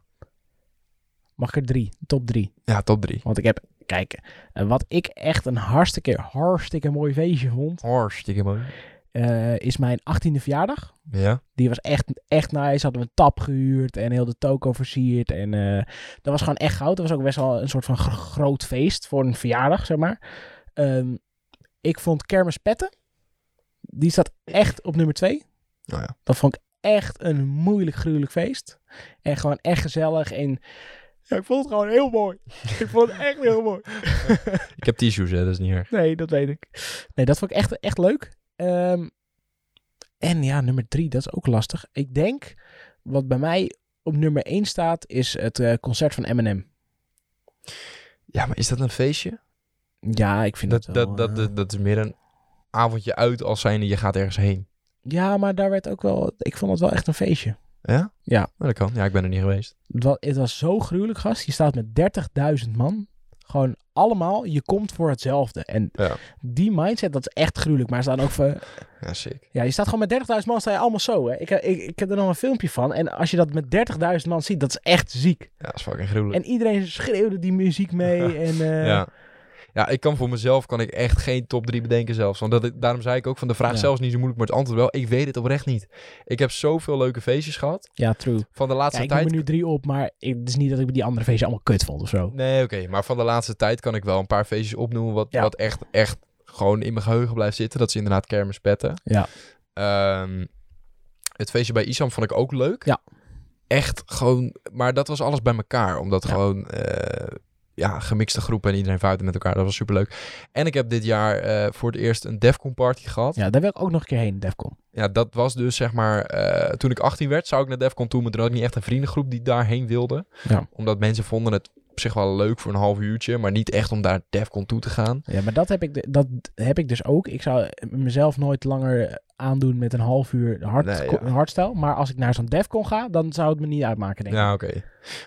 Mag ik er drie? Top drie. Ja, ja top drie. Want ik heb, kijk, eh, wat ik echt een hartstikke, hartstikke mooi feestje vond, Hartstikke mooi. eh, is mijn 18e verjaardag. Ja. Die was echt, echt nice. Hadden we een tap gehuurd en heel de toko versierd. En eh, dat was gewoon echt goud. Dat was ook best wel een soort van gro- groot feest voor een verjaardag, zeg maar. Ehm, ik vond Kermis Petten, die staat echt op nummer twee. Nou ja. Dat vond ik echt een moeilijk, gruwelijk feest. En gewoon echt gezellig. En ja, ik vond het gewoon heel mooi. ik vond het echt heel mooi. Ik heb tissues, hè. Dat is niet erg. Nee, dat weet ik. Nee, dat vond ik echt, echt leuk. Ehm, En ja, nummer drie, dat is ook lastig. Ik denk, wat bij mij op nummer één staat, is het eh, concert van Eminem. Ja, maar is dat een feestje? Ja, ik vind Dat, het wel, dat, dat, eh, dat, dat is meer een avondje uit als zijnde je gaat ergens heen. Ja, maar daar werd ook wel... Ik vond het wel echt een feestje. Ja? Ja. Nou, dat kan. Ja, ik ben er niet geweest. Het was, het was zo gruwelijk, gast. Je staat met 30.000 man. Gewoon allemaal, je komt voor hetzelfde. En Ja. die mindset, dat is echt gruwelijk. Maar er staan ook van, Ja, sick. ja, je staat gewoon met 30.000 man, sta je allemaal zo. Hè. Ik, ik, ik heb er nog een filmpje van. En als je dat met 30.000 man ziet, dat is echt ziek. Ja, dat is fucking gruwelijk. En iedereen schreeuwde die muziek mee. (laughs) En, eh, ja. ja, ik kan voor mezelf kan ik echt geen top 3 bedenken zelfs. Want dat, ik- daarom zei ik ook van de vraag Ja. zelfs niet zo moeilijk, maar het antwoord wel. Ik weet het oprecht niet. Ik heb zoveel leuke feestjes gehad. ja, true. Van de Ja, laatste ik noem tijd... er nu drie op, maar ik- het is niet dat ik die andere feestjes allemaal kut vond of zo. Nee, oké. maar van de laatste tijd kan ik wel een paar feestjes opnoemen... wat, Ja. wat echt, echt gewoon in mijn geheugen blijft zitten. Dat is inderdaad kermispetten. Ja. Ehm, het feestje bij Isam vond ik ook leuk. Ja. Echt gewoon... Maar dat was alles bij elkaar. Omdat Ja. gewoon... eh, ja, gemixte groepen en iedereen vuilde met elkaar. Dat was superleuk. En ik heb dit jaar eh, voor het eerst een Defcon party gehad. Ja, daar wil ik ook nog een keer heen, Defcon. Ja, dat was dus zeg maar... eh, toen ik 18 werd, zou ik naar Defcon toe. Maar toen had ik niet echt een vriendengroep die daarheen wilde. Ja. Omdat mensen vonden het op zich wel leuk voor een half uurtje. Maar niet echt om daar Defcon toe te gaan. Ja, maar dat heb, ik, de- dat heb ik dus ook. Ik zou mezelf nooit langer aandoen met een half uur hard, Nee, ja. ko- hardstyle. Maar als ik naar zo'n Defcon ga, dan zou het me niet uitmaken, denk ik. Ja, oké.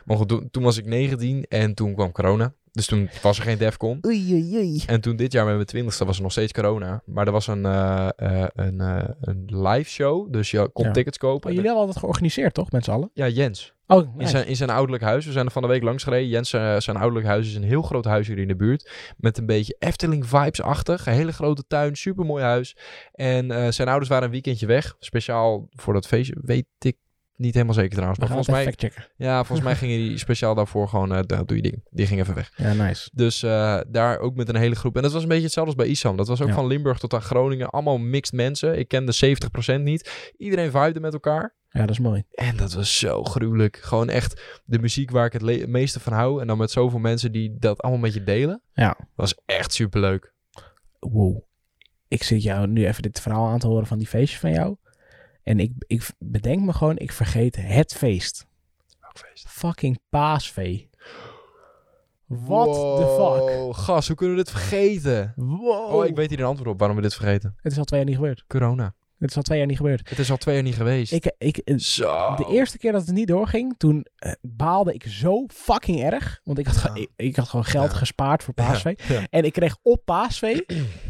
Maar goed, toen, toen was ik 19 en toen kwam corona. Dus toen was er geen Defcon. Oei, oei, oei. En toen dit jaar met mijn twintigste was er nog steeds corona. Maar er was een, eh, eh, een, eh, een live show. Dus je kon Ja. tickets kopen. Maar jullie hebben altijd georganiseerd, toch? Met z'n allen? Ja, Jens. Oh, In zijn, in zijn ouderlijk huis. We zijn er van de week langs gereden. Jens, eh, zijn ouderlijk huis is een heel groot huis hier in de buurt. Met een beetje Efteling-vibes-achtig. Een hele grote tuin. Supermooi huis. En eh, zijn ouders waren een weekendje weg. Speciaal voor dat feestje. Weet ik niet helemaal zeker trouwens. we Maar gaan het volgens mij, even checken. ja, volgens mij gingen die speciaal daarvoor gewoon... eh, daar doe je ding. Die ging even weg. Ja, nice. Dus eh, daar ook met een hele groep. En dat was een beetje hetzelfde als bij Isam. Dat was ook Ja. van Limburg tot aan Groningen. Allemaal mixed mensen. Ik kende 70% niet. Iedereen vibede met elkaar. Ja, dat is mooi. En dat was zo gruwelijk. Gewoon echt de muziek waar ik het le- meeste van hou. En dan met zoveel mensen die dat allemaal met je delen. Ja. Was echt superleuk. Wow. Ik zit jou nu even dit verhaal aan te horen van die feestjes van jou. En ik, ik bedenk me gewoon, ik vergeet het feest. Fucking paasvee. What the fuck? Wow, Gast, hoe kunnen we dit vergeten? Wow. Oh, ik weet hier een antwoord op waarom we dit vergeten. Het is al twee jaar niet gebeurd. Corona. Het is al twee jaar niet gebeurd. Het is al twee jaar niet geweest. Ik, ik, eh, Zo. de eerste keer dat het niet doorging, toen eh, baalde ik zo fucking erg. Want ik had, ge- Ja. ik, ik had gewoon geld Ja. gespaard voor paasvee. Ja. En ik kreeg op (clears throat) paasvee,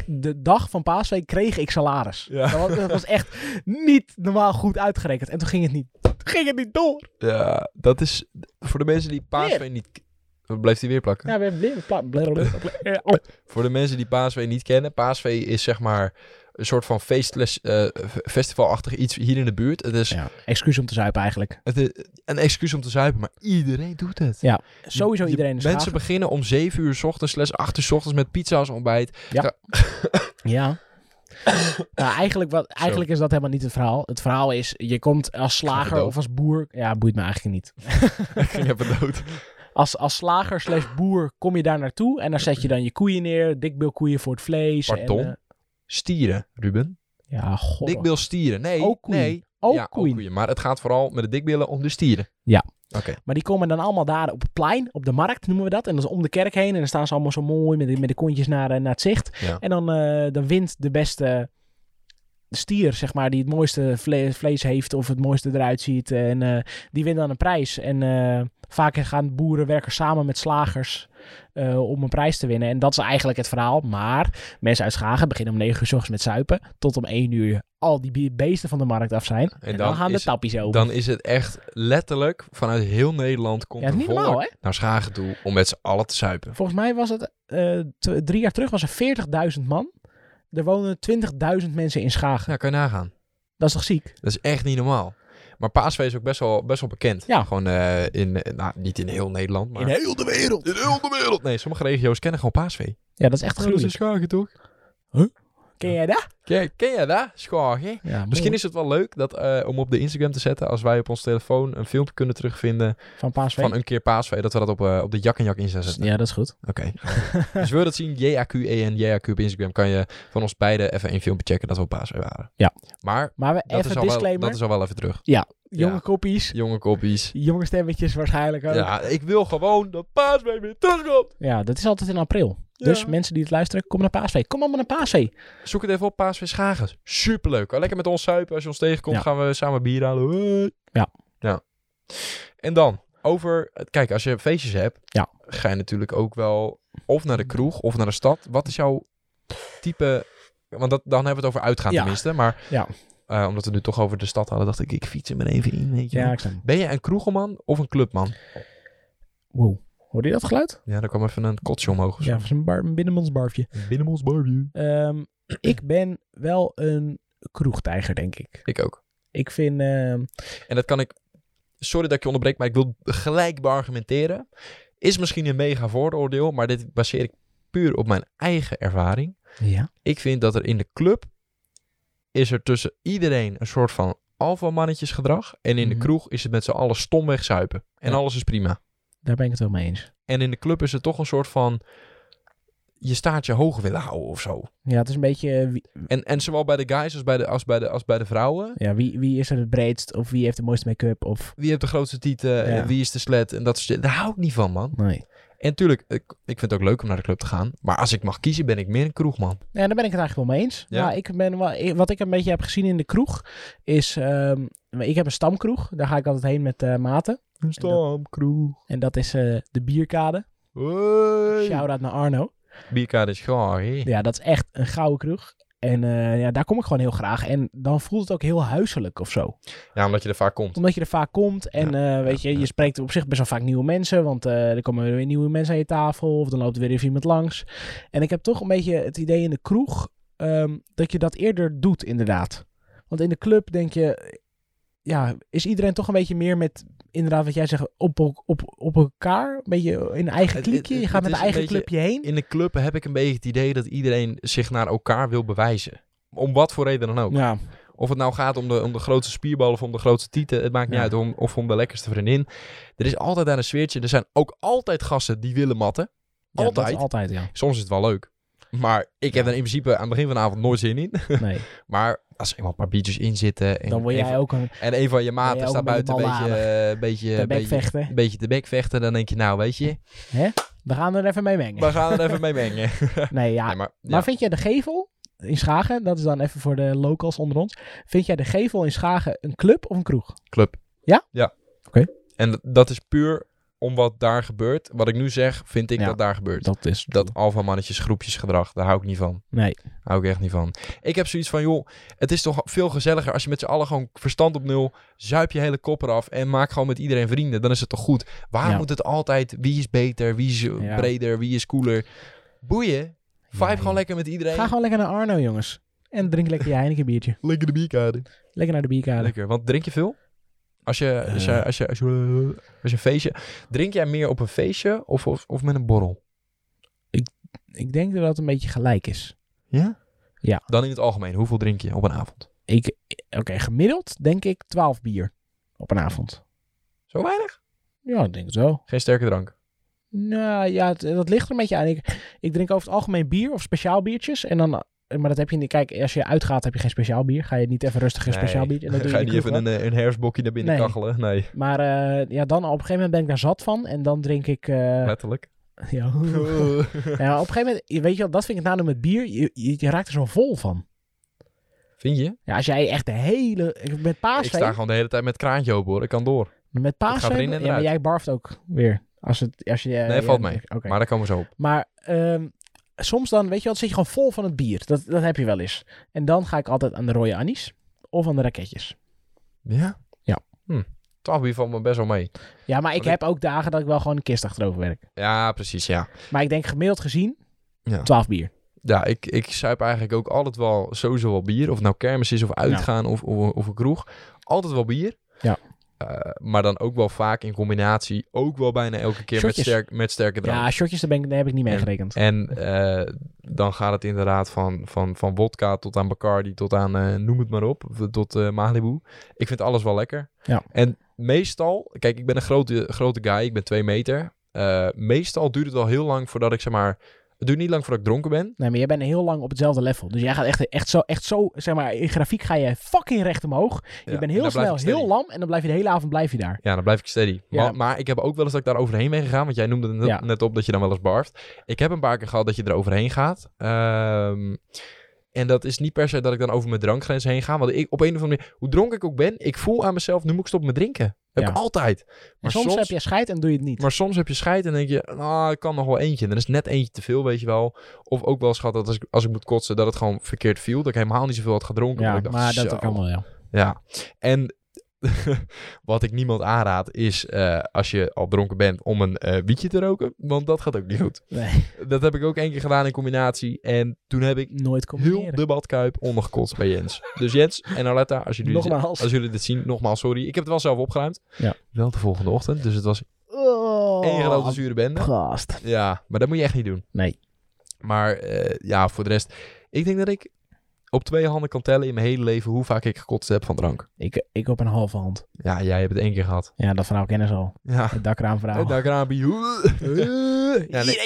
de dag van paasvee, kreeg ik salaris. Ja. Dat, was, dat was echt niet normaal goed uitgerekend. En toen ging het niet, toen ging het niet door. Ja, dat is voor de mensen die paasveen niet... Oh, Blijft hij weer plakken? Ja, we hebben weer- pla- blablabla, bla- eh, Voor de mensen die Paasvee niet kennen, Paasvee is zeg maar een soort van feestles, eh, v- festivalachtig iets hier in de buurt. Het is, Ja, excuus om te zuipen eigenlijk. het is een excuus om te zuipen, maar iedereen doet het. Ja, Sowieso Je- iedereen is Mensen graag- beginnen om 7 uur 's ochtends, slash 8 uur 's ochtends met pizza als (laughs) ontbijt. (coughs) Ja. nou, eigenlijk, wat, eigenlijk is dat helemaal niet het verhaal. Het verhaal is, je komt als slager dood. of als boer... Ja, boeit me eigenlijk niet. Ik ging even dood. Als, als slager slash boer kom je daar naartoe en daar zet je dan je koeien neer. Dikbeelkoeien voor het vlees. Pardon? En, eh, Stieren, Ruben. ja, god. Dikbil stieren. Nee, Ook koeien. nee. ook ja, koeien. ook koeien. Maar het gaat vooral met de dikbillen om de stieren. Ja. Oké. Maar die komen dan allemaal daar op het plein, op de markt noemen we dat. En dat is om de kerk heen. En dan staan ze allemaal zo mooi met, de- met de kontjes naar, eh, naar het zicht. Ja. En dan, eh, dan wint de beste stier, zeg maar, die het mooiste vle- vlees heeft of het mooiste eruit ziet. En eh, die wint dan een prijs. En eh, vaak gaan boeren werken samen met slagers eh, om een prijs te winnen. En dat is eigenlijk het verhaal. Maar mensen uit Schagen beginnen om 9 uur 's ochtends met zuipen. Tot om 1 uur al die bie- beesten van de markt af zijn. En, En dan, dan gaan de is- tappies open. Dan is het echt letterlijk vanuit heel Nederland komt ja, het er is niet normaal, hè? naar Schagen toe om met z'n allen te zuipen. Volgens mij was het eh, tw- drie jaar terug was er 40.000 man. Er wonen 20.000 mensen in Schagen. Ja, kan je nagaan. Dat is toch ziek? Dat is echt niet normaal. Maar Paasvee is ook best wel, best wel bekend. Ja. Gewoon eh, in, eh, nou, niet in heel Nederland, maar... heel de wereld. in heel de wereld! Nee, sommige regio's kennen gewoon Paasvee. Ja, dat is echt Dat is gruwelijk. een schaakje, toch? Ken jij dat? Ken, ken jij dat? Schagen. Ja, Misschien is het wel leuk dat, eh, om op de Instagram te zetten, als wij op ons telefoon een filmpje kunnen terugvinden van Paasvee. van een keer paasvee, dat we dat op, eh, op de jak en jak inzetten. Ja, dat is goed. Oké. (laughs) dus wil je dat zien, JAQE en JAQ E op Instagram, kan je van ons beiden even een filmpje checken dat we op paasvee waren. Ja. Maar Maar we, dat even is, al wel, disclaimer. dat is al wel even terug. Jonge ja. koppies, Jonge koppies. jonge stemmetjes waarschijnlijk ook. Ja, Ja, ik wil gewoon dat paasvee weer terugkomt. dat is altijd in april. Ja. Dus mensen die het luisteren, kom naar Paasvee. Kom allemaal naar Paasvee. Zoek het even op, paasvee Schagers. Superleuk. Kan Lekker met ons zuipen. Als je ons tegenkomt, Ja. gaan we samen bier halen. Hoi. Ja. ja. En dan, over... Kijk, als je feestjes hebt, Ja. ga je natuurlijk ook wel of naar de kroeg of naar de stad. Wat is jouw type... Want dat, dan hebben we het over uitgaan Ja. tenminste. Maar Ja. eh, omdat we het nu toch over de stad hadden, dacht ik, ik fiets er maar even in. Weet je. Ja, wel. ik snap hem. Ben je een kroegelman of een clubman? Wow. Hoorde je dat geluid? Ja, daar kwam even een kotsje omhoog. of zo. Ja, van een, bar, een binnenmondsbarfje. Binnen ons barbecue. Ehm, ik ben wel een kroegtijger, denk ik. Ik ook. Ik vind... ehm, En dat kan ik. Sorry dat ik je onderbreek, maar ik wil gelijk beargumenteren. Is misschien een mega vooroordeel, maar dit baseer ik puur op mijn eigen ervaring. ja. Ik vind dat er in de club is er tussen iedereen een soort van alfamannetjesgedrag. En in de Mhm. kroeg is het met z'n allen stomweg zuipen. En Ja. alles is prima. Daar ben ik het wel mee eens. En in de club is het toch een soort van... Je staartje hoog willen houden of zo. Ja, het is een beetje eh, wie, En, en zowel bij de guys als bij de, als bij de, als bij de vrouwen. ja, wie, wie is er het breedst of wie heeft de mooiste make-up of... Wie heeft de grootste tieten? Ja. Wie is de slet? En dat soort Daar hou ik niet van, man. Nee. En tuurlijk, ik, ik vind het ook leuk om naar de club te gaan. Maar als ik mag kiezen, ben ik meer een kroegman. Ja, daar ben ik het eigenlijk wel mee eens. Ja. Ja. ik ben, wel- ik- wat ik een beetje heb gezien in de kroeg is... ehm, ik heb een stamkroeg. Daar ga ik altijd heen met eh, maten. Een stamkroeg. En dat is eh, de Bierkade. Hey. Shout-out naar Arno. Bierkaart is gaar, hé. Ja, dat is echt een gouden kroeg. En eh, ja, daar kom ik gewoon heel graag. En dan voelt het ook heel huiselijk of zo. Ja, omdat je er vaak komt. Omdat je er vaak komt en eh, weet je, je spreekt op zich best wel vaak nieuwe mensen. Want eh, er komen weer nieuwe mensen aan je tafel of dan loopt er weer even iemand langs. En ik heb toch een beetje het idee in de kroeg ehm, dat je dat eerder doet inderdaad. Want in de club denk je, ja, is iedereen toch een beetje meer met, inderdaad wat jij zegt, op, el- op, op elkaar. Een beetje in een eigen Het- het- kliekje. Je het gaat met is een eigen een beetje clubje heen. In de club heb ik een beetje het idee dat iedereen zich naar elkaar wil bewijzen. Om wat voor reden dan ook. Ja, Of het nou gaat om de, om de grootste spierballen of om de grootste tieten. Het maakt niet Ja. uit. Om, of om de lekkerste vriendin. Er is altijd daar een sfeertje. Er zijn ook altijd gasten die willen matten. Ja, dat is Altijd. altijd, ja. Soms is het wel leuk. Maar ik heb Ja. er in principe aan het begin van de avond nooit zin in. (laughs) Nee, Maar als er iemand een paar biertjes in zitten. En, dan wil en jij van- ook een en een van je Ben je maten ook staat een buiten een beetje, een beetje beetje, de een bek beetje, vechten. een beetje de bek vechten. Dan denk je, nou weet (laughs) je, We gaan er even mee mengen. we gaan er even mee mengen. Nee, ja, Nee, maar, ja. Maar vind jij de gevel in Schagen, dat is dan even voor de locals onder ons. Vind jij de gevel in Schagen een club of een kroeg? Club. Ja? Ja. Oké. En dat- dat is puur om wat daar gebeurt. Wat ik nu zeg, vind ik Ja. dat daar gebeurt. Dat is Dat alfamannetjes, groepjesgedrag, daar hou ik niet van. Nee. Hou ik echt niet van. Ik heb zoiets van, joh, het is toch veel gezelliger als je met z'n allen gewoon verstand op nul, zuip je hele kop eraf en maak gewoon met iedereen vrienden. Dan is het toch goed. Waarom Ja. moet het altijd, wie is beter, wie is eh, Ja. breder, wie is cooler? Boeien. Vibe Ja, gewoon joh. lekker met iedereen. Ga gewoon lekker naar Arno, jongens. En drink (laughs) lekker je Heineken biertje. Lekker de bierkade. Lekker naar de bierkade. Lekker, want drink je veel? Als je, Eh. als je, als je, als je, als je een feestje... Drink jij meer op een feestje of, of, of met een borrel? Ik denk dat dat een beetje gelijk is. Ja? Ja. Dan in het algemeen, hoeveel drink je op een avond? Ik, oké, gemiddeld denk ik 12 bier op een avond. Zo weinig? Ja, ik denk het wel. Geen sterke drank. Nou ja, het- dat ligt er een beetje aan. Ik, ik drink over het algemeen bier of speciaal biertjes. En dan, eh, maar dat heb je niet. Kijk, als je uitgaat heb je geen speciaal bier. Ga je niet even rustig een speciaal (laughs) biertje. en dat doe Ga je in de niet kroeg even wel. een, eh, een herfstbokje naar binnen Nee. kachelen? Nee, Maar eh, ja, dan op een gegeven moment ben ik daar zat van. En dan drink ik... eh, letterlijk. ja, ja, op een gegeven moment, je- weet je wel, dat vind ik het nadeel met bier. Je, je, je raakt er zo vol van. (laughs) Vind je? Ja, als jij echt de hele... Met Ik sta paasvee... gewoon de hele tijd met het kraantje open hoor, ik kan door. Met erin paasvee... en Ja, maar eruit. jij barft ook weer. Als het, als je, eh, Nee, ja, valt mee. oké. Maar daar komen we zo op. Maar ehm, soms dan, weet je wel, dan zit je gewoon vol van het bier. Dat, dat heb je wel eens. En dan ga ik altijd aan de rode annies. Of aan de raketjes. Ja? Ja. Hm. 12 bier valt me best wel mee. Ja, maar ik Want ik- heb ook dagen dat ik wel gewoon een kist achterover werk. Ja, precies, ja. Maar ik denk gemiddeld gezien, Ja, 12 bier. ja ik, ik zuip eigenlijk ook altijd wel sowieso wel bier. Of het nou kermis is of uitgaan of, of, of een kroeg. Altijd wel bier. Ja. Eh, Eh, maar dan ook wel vaak in combinatie, ook wel bijna elke keer met, Shotjes. sterk, met sterke drank. Ja, shotjes, daar, ben ik, daar heb ik niet mee gerekend. En eh, dan gaat het inderdaad van, van, van vodka tot aan Bacardi, tot aan eh, noem het maar op, v- tot eh Malibu. Ik vind alles wel lekker. Ja. En meestal, kijk, ik ben een grote, grote guy, ik ben twee meter. Eh, meestal duurt het wel heel lang voordat ik zeg maar, het duurt niet lang voordat ik dronken ben. Nee, maar jij bent heel lang op hetzelfde level. Dus jij gaat echt, echt, zo, echt zo, zeg maar, in grafiek ga je fucking recht omhoog. Ja, je bent en heel dan blijf snel, ik steady. heel lam en dan blijf je de hele avond blijf je daar. Ja, dan blijf ik steady. Ja. Maar, maar ik heb ook wel eens dat ik daar overheen ben gegaan. Want jij noemde het net, Ja. net op dat je dan wel eens barft. Ik heb een paar keer gehad dat je er overheen gaat. Ehm, en dat is niet per se dat ik dan over mijn drankgrens heen ga. Want ik, op een of andere manier, hoe dronken ik ook ben, ik voel aan mezelf, nu moet ik stoppen met drinken. Heb Ja. ik altijd. En Maar soms, heb je scheid en doe je het niet. maar soms heb je scheid en denk je, nou, ik kan nog wel eentje. En er is net eentje te veel, weet je wel. Of ook wel eens gehad dat als ik, als ik moet kotsen, dat het gewoon verkeerd viel. Dat ik helemaal niet zoveel had gedronken. ja, omdat ik dacht, maar dat zo. ook allemaal, ja. Ja, en (laughs) wat ik niemand aanraad is eh, als je al dronken bent om een eh, wietje te roken, want dat gaat ook niet goed. Nee, Dat heb ik ook één keer gedaan in combinatie en toen heb ik (laughs) nooit heel combineren. de badkuip ondergekotst bij Jens. Dus Jens en Arletta, als jullie, Nogmaals. als jullie dit zien, nogmaals sorry. Ik heb het wel zelf opgeruimd. Ja. Wel de volgende ochtend, dus het was (laughs) Oh, één grote zure bende. gast. Ja, maar dat moet je echt niet doen. Nee. Maar eh, ja, voor de rest, ik denk dat ik op twee handen kan tellen in mijn hele leven hoe vaak ik gekotst heb van drank. Ik, ik op een halve hand. Ja, jij hebt het één keer gehad. Ja, dat verhaal kennen ze al. Ja. Het dakraam verhaal. Het dakraampje. (laughs) Ja, nee.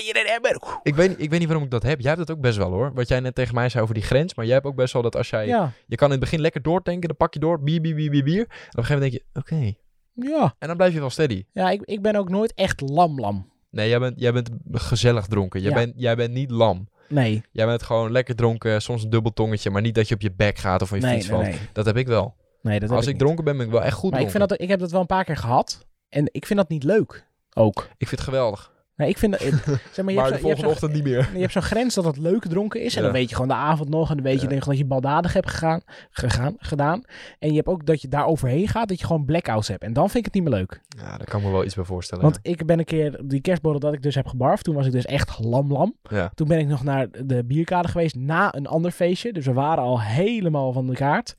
ik, weet, niet- ik weet niet waarom ik dat heb. Jij hebt dat ook best wel hoor. Wat jij net tegen mij zei over die grens. Maar jij hebt ook best wel dat als jij... Ja, Je kan in het begin lekker doortanken. Dan pak je door. Bier, bier, bier, bier, bier. En op een gegeven moment denk je... Oké. ja. En dan blijf je wel steady. ja ik, ik ben ook nooit echt lam-lam. Nee, jij bent, jij bent gezellig dronken. Jij, Ja. bent, jij bent niet lam. Nee, Jij bent gewoon lekker dronken. Soms een dubbel tongetje. Maar niet dat je op je bek gaat of van je nee, fiets nee, valt. nee. Dat heb ik wel. Nee, dat heb als ik, niet. dronken ben, ben ik wel echt goed Maar ik, dronken. vind dat, ik heb dat wel een paar keer gehad. En ik vind dat niet leuk. Ook. Ik vind het geweldig. Nee, ik vind (laughs) dat... het- Zeg maar, je maar hebt de zo- je volgende hebt zo'n ochtend niet meer. je hebt zo'n grens dat het leuk dronken is. En Ja. dan weet je gewoon de avond nog. En dan weet je Ja. denk ik dat je baldadig hebt gegaan, gegaan, gedaan. En je hebt ook dat je daar overheen gaat. Dat je gewoon blackouts hebt. En dan vind ik het niet meer leuk. Ja, daar kan ik me wel iets bij voorstellen. Want ik ben een keer op die kerstborrel dat ik dus heb gebarfd. Toen was ik dus echt lam-lam. Ja. Toen ben ik nog naar de bierkade geweest na een ander feestje. Dus we waren al helemaal van de kaart.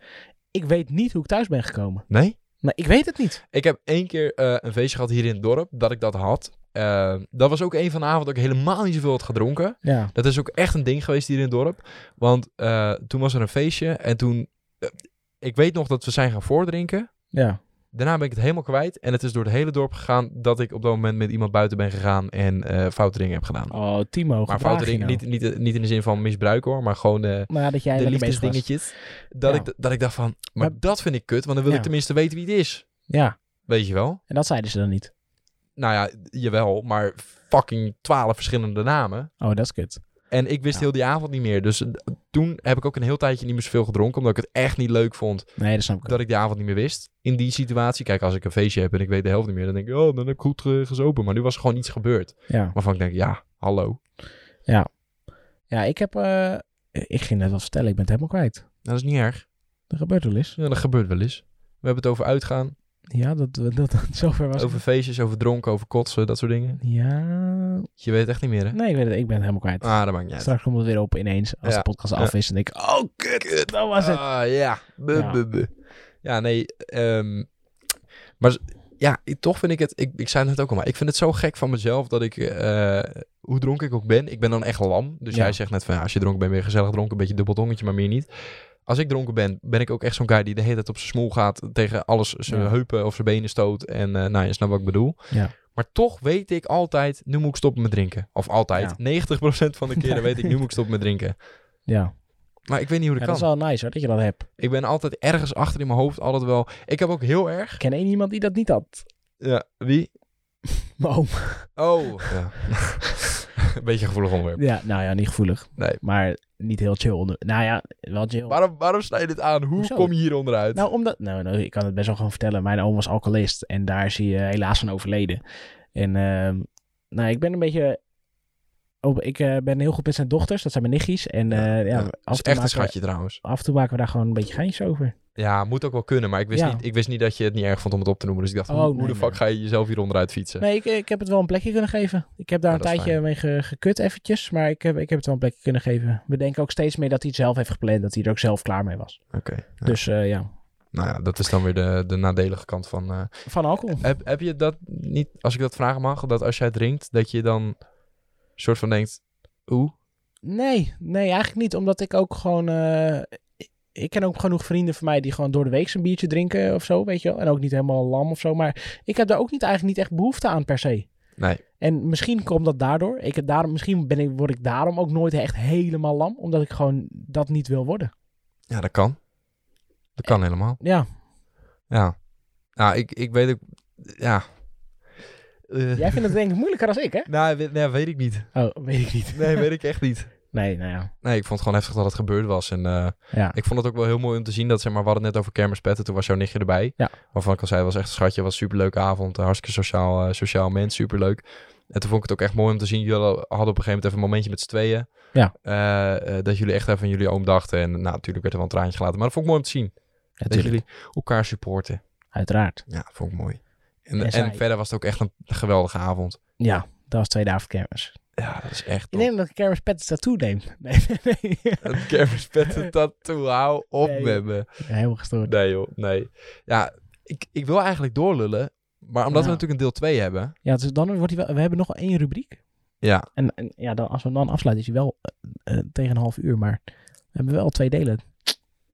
Ik weet niet hoe ik thuis ben gekomen. ja. Nee? Nee, ik weet het niet. Ik heb één keer eh, een feestje gehad hier in het dorp, dat ik dat had. Eh, dat was ook een van de avonden dat ik helemaal niet zoveel had gedronken. Ja. Dat is ook echt een ding geweest hier in het dorp. Want eh, toen was er een feestje en toen... eh, ik weet nog dat we zijn gaan voordrinken. Ja. Daarna ben ik het helemaal kwijt. En het is door het hele dorp gegaan dat ik op dat moment met iemand buiten ben gegaan en eh foute dingen heb gedaan. Oh, Timo. maar gedraag foute je dingen, nou. niet, niet, niet in de zin van misbruik hoor, maar gewoon... eh, Nou ja, dat jij de lekker bezig was. liefdesdingetjes. Dat, Ja. ik, dat ik dacht van, maar, Maar- dat vind ik kut, want dan wil Ja. ik tenminste weten wie het is. Ja, Weet je wel? en dat zeiden ze dan niet. Nou ja, jawel, maar fucking twaalf verschillende namen. Oh, dat is kut. En ik wist Ja. heel die avond niet meer. Dus eh, toen heb ik ook een heel tijdje niet meer zoveel gedronken. Omdat ik het echt niet leuk vond Nee, dat snap ik. dat ik die avond niet meer wist. In die situatie. Kijk, als ik een feestje heb en ik weet de helft niet meer. Dan denk ik, oh, dan heb ik goed eh, gezopen. Maar nu was er gewoon iets gebeurd. Ja. Waarvan ik denk, ja, hallo. ja, ik heb... eh, ik ging net wat vertellen, ik ben het helemaal kwijt. Dat is niet erg. Dat gebeurt wel eens. Ja, dat gebeurt wel eens. We hebben het over uitgaan. Ja, dat, dat, dat zover was Over het. feestjes, over dronken, over kotsen, dat soort dingen. Ja... Je weet het echt niet meer, hè? Nee, ik, weet het, ik ben het helemaal kwijt. Ah, dat maakt niet uit. Straks komt het weer op ineens, als Ja. de podcast Ja. af is. En denk ik, oh kut, dat was het. Ah, ja. Bu- Ja. bu- bu. Ja, nee. ehm, maar z- ja, ik- toch vind ik het... Ik, ik zei het net ook al, maar ik vind het zo gek van mezelf dat ik... eh, hoe dronken ik ook ben, ik ben dan echt lam. Dus Ja. jij zegt net van, ja, als je dronken bent, ben je gezellig dronken. Een beetje dubbeldongetje, maar meer niet. Als ik dronken ben, ben ik ook echt zo'n guy die de hele tijd op zijn smoel gaat. Tegen alles, zijn Ja. heupen of zijn benen stoot. En eh nou, je snapt wat ik bedoel. Ja. Maar toch weet ik altijd, nu moet ik stoppen met drinken. Of altijd. Ja. 90% van de keren (laughs) weet ik, nu moet ik stoppen met drinken. Ja, Maar ik weet niet hoe Ja, dat dat kan. is wel nice hoor, dat je dat hebt. Ik ben altijd ergens achter in mijn hoofd altijd wel. Ik heb ook heel erg. Ik ken één iemand die dat niet had. (laughs) Ja, wie? Mijn oom. Oh. Ja. Beetje (laughs) een gevoelig onderwerp. Ja, nou ja, niet gevoelig. Nee. Maar niet heel chill. onder- Nou ja, wel chill. Waarom, waarom snij je dit aan? Hoe Hoezo? kom je hier onderuit? Nou, omdat... Nou, nou, ik kan het best wel gewoon vertellen. Mijn oom was alcoholist en daar is hij eh, helaas van overleden. En ehm, nou, ik ben een beetje... Op, ik eh, ben heel goed met zijn dochters, dat zijn mijn nichtjes. En eh, ja, ja. Dat af, is en toe echt een maken, we- schatje trouwens. af en toe maken we daar gewoon een beetje geintjes over. Ja, moet ook wel kunnen. Maar ik wist, Ja. niet, ik wist niet dat je het niet erg vond om het op te noemen. Dus ik dacht, Oh, hoe, hoe nee, de nee, fuck nee. ga je jezelf hier onderuit fietsen? Nee, ik, ik heb het wel een plekje kunnen geven. Ik heb daar Ja, een dat is tijdje fijn. mee ge- gekut eventjes, maar ik heb, ik heb het wel een plekje kunnen geven. We denken ook steeds meer dat hij het zelf heeft gepland, dat hij er ook zelf klaar mee was. Oké. ja. Dus eh, ja, Nou ja, dat is dan weer de, de nadelige kant van... eh, Van alcohol. heb, heb je dat niet, als ik dat vragen mag, dat als jij drinkt, dat je dan soort van denkt, oeh, Nee, nee, eigenlijk niet. Omdat ik ook gewoon... eh, ik- ik ken ook genoeg vrienden van mij die gewoon door de week een biertje drinken of zo, weet je wel. En ook niet helemaal lam of zo. Maar ik heb daar ook niet, eigenlijk niet echt behoefte aan per se. nee. En misschien komt dat daardoor. Ik heb daarom, misschien ben ik, word ik daarom ook nooit echt helemaal lam. Omdat ik gewoon dat niet wil worden. Ja, dat kan. Dat Eh, kan helemaal. (laughs) Ja, Ja. Nou, ik, ik weet ook... Ja. Eh, jij vindt het denk ik moeilijker als ik, hè? Nou, we- nou, weet ik niet. Oh, weet ik niet. Nee, weet ik echt niet. Nee, nou ja. Nee, ik vond het gewoon heftig dat het gebeurd was. En eh, Ja. ik vond het ook wel heel mooi om te zien dat, zeg maar, we hadden het net over kermispetten. Toen was jouw nichtje erbij. Ja. Waarvan ik al zei, was echt een schatje. Was een superleuke avond. Een hartstikke sociaal, eh, sociaal mens. Superleuk. En toen vond ik het ook echt mooi om te zien. Jullie hadden op een gegeven moment even een momentje met z'n tweeën. Ja. Eh, eh, dat jullie echt even aan jullie oom dachten. En nou, natuurlijk werd er wel een traantje gelaten. Maar dat vond ik mooi om te zien. dat Natuurlijk, jullie elkaar supporten. uiteraard. Ja, dat vond ik mooi. En, En en, zij- verder was het ook echt een geweldige avond. Ja, dat was tweede avond kermis. Ja, dat is echt Ik top. denk dat ik kermis pet tattoo neem. (laughs) Nee, nee, nee. Een (laughs) kermispetten tattoo, hou op Nee. met me. Helemaal gestoord. Nee joh, nee. Ja, ik, ik wil eigenlijk doorlullen. Maar omdat we Ja. natuurlijk een deel 2 hebben. Ja, dus dan wordt hij wel... We hebben nog wel één rubriek. Ja, En, en ja, dan, als we hem dan afsluiten is hij wel eh, eh, tegen een half uur. Maar we hebben wel twee delen.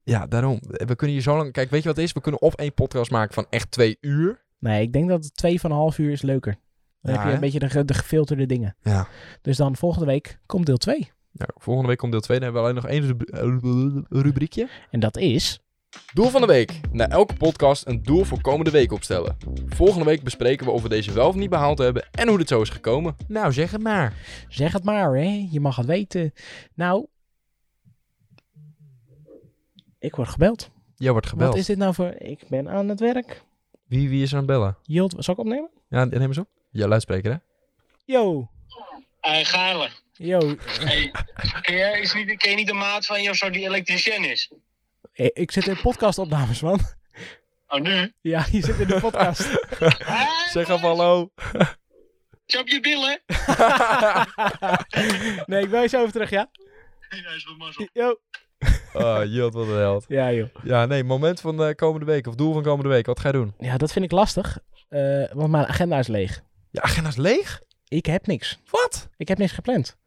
ja, daarom. We kunnen hier zo lang... Kijk, weet je wat het is? We kunnen of één podcast maken van echt twee uur. Nee, ik denk dat twee van een half uur is leuker. Dan Ja, heb je hè? een beetje de, ge- de gefilterde dingen. Ja. Dus dan volgende week komt deel 2. Nou, volgende week komt deel 2. Dan hebben we alleen nog één rubri- eh, rubriekje. En dat is... Doel van de week. Na elke podcast een doel voor komende week opstellen. Volgende week bespreken we of we deze wel of niet behaald hebben en hoe dit zo is gekomen. Nou, zeg het maar. Zeg het maar, hè. Je mag het weten. Nou... Ik word gebeld. Jij wordt gebeld. Wat is dit nou voor... Ik ben aan het werk. Wie, wie is er aan het bellen? Jilt, zal ik opnemen? Ja, neem eens op. Ja, luidspreker hè? Yo, Hey, Eh, Geile. yo. Hey, ken, jij, is niet, ken je niet de maat van je of zo die elektricien is? Eh, Ik zit in podcastopnames, man. (laughs) Oh, nu? Ja, je zit in de podcast. Hey, Zeg even hallo. Chap je billen? nee, ik ben je zo over terug, ja? Ja, is wel mazzel. Yo. Oh, Jilt, wat een held. Ja, joh. Ja, nee, moment van eh, komende week of doel van komende week. Wat ga je doen? Ja, dat vind ik lastig. eh, want mijn agenda is leeg. Je agenda is leeg? Ik heb niks. Wat? Ik heb niks gepland.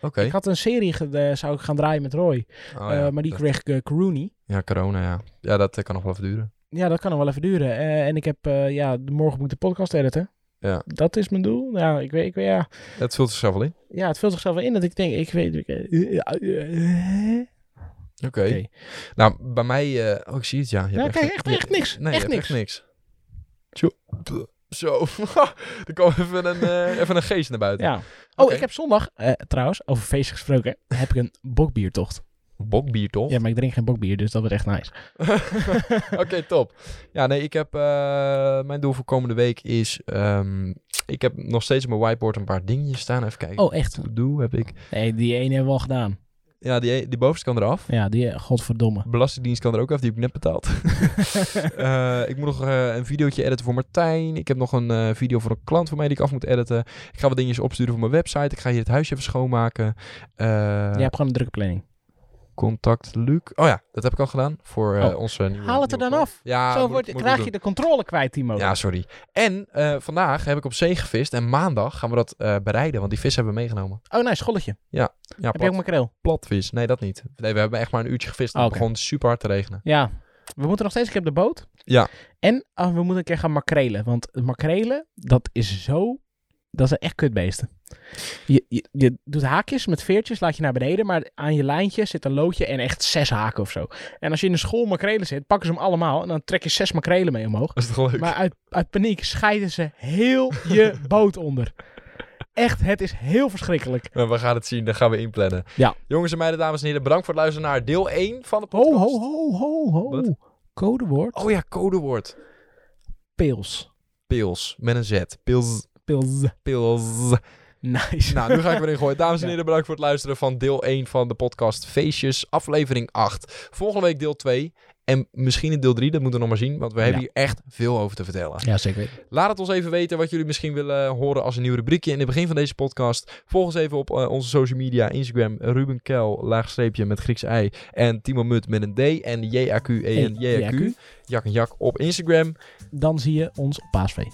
Oké. Ik had een serie, ge- eh, zou ik gaan draaien met Roy. Oh, ja. eh, maar die Dat- kreeg ik eh, corona. ja, corona, ja. Ja, dat eh, kan nog wel even duren. Ja, dat kan nog wel even duren. Eh, en ik heb, eh, ja, de- morgen moet ik de podcast editen. Ja. Dat Dat is mijn doel. Nou, ik weet, ik weet ja. Het vult zichzelf wel in. Ja, het vult zichzelf wel in dat ik denk, ik weet... Ik, eh, eh, eh, eh. Oké. Oké. Nou, bij mij... eh, oh, ik zie het, ja. Je Ja, hebt kijk, echt, echt niks. Nee, je echt hebt niks. Tjoe. Zo. (laughs) er kwam even een, eh, even een geest naar buiten. Ja. Oh, Oké. ik heb zondag, eh, trouwens, over feestjes gesproken, heb ik een bokbiertocht. Bokbier, toch? Ja, maar ik drink geen bokbier, dus dat wordt echt nice. (laughs) Oké, top. Ja, nee, ik heb... eh, mijn doel voor komende week is... ehm, ik heb nog steeds op mijn whiteboard een paar dingetjes staan. Even kijken. Oh, echt? Doe heb ik. Nee, die ene hebben we al gedaan. Ja, die, die bovenste kan eraf. Ja, die, eh, godverdomme. Belastingdienst kan er ook af, die heb ik net (laughs) betaald. (laughs) Eh, ik moet nog eh, een videootje editen voor Martijn. Ik heb nog een eh, video voor een klant van mij die ik af moet editen. Ik ga wat dingetjes opsturen voor mijn website. Ik ga hier het huisje even schoonmaken. Eh, Jij hebt gewoon een drukke planning. Contact Luc. Oh ja, dat heb ik al gedaan voor eh, Oh. onze nieuwe Haal het er nieuwe dan klant. af. Ja, Zo Ah, moet- wordt, moet ik krijg doen. je de controle kwijt, Timo. Ja, sorry. En eh, vandaag heb ik op zee gevist en maandag gaan we dat eh, bereiden, want die vis hebben we meegenomen. Oh, nice, scholletje. Ja, Heb je plat, ook makreel? platvis. Nee, dat niet. Nee, we hebben echt maar een uurtje gevist en Oh, het oké. begon super hard te regenen. (laughs) Ja. We moeten nog steeds een keer op de boot. Ja. En ah, we moeten een keer gaan makrelen. Want makrelen, dat is zo... Dat zijn echt kutbeesten. Je, je, je doet haakjes met veertjes, laat je naar beneden. Maar aan je lijntje zit een loodje en echt zes haken of zo. En als je in de school makrelen zit, pakken ze hem allemaal. En dan trek je zes makrelen mee omhoog. Dat is toch leuk? Maar uit, uit paniek scheiden ze heel (laughs) je boot onder. Echt, het is heel verschrikkelijk. Maar we gaan het zien, dan gaan we inplannen. Ja. Jongens en meiden, dames en heren, bedankt voor het luisteren naar deel 1 van de podcast. Ho, ho, ho, ho, Wat? ho. Codewoord. Oh ja, codewoord. Pils. Pils, met een Z. Pils, Pils. pils. (laughs) Nice. Nou, nu ga ik weer ingooien. Dames en Ja. heren, bedankt voor het luisteren van deel 1 van de podcast Feestjes, aflevering 8. Volgende week deel 2 en misschien in deel 3, dat moeten we nog maar zien, want we hebben Ja. hier echt veel over te vertellen. Ja, zeker weten. Laat het ons even weten wat jullie misschien willen horen als een nieuw rubriekje in het begin van deze podcast. Volg ons even op eh, onze social media, Instagram, Ruben Kel, laagstreepje met Grieks ei en Timo Mut met een D en JAQ, en JAQ, Jak en Jak op Instagram. Dan zie je ons op Paasvee.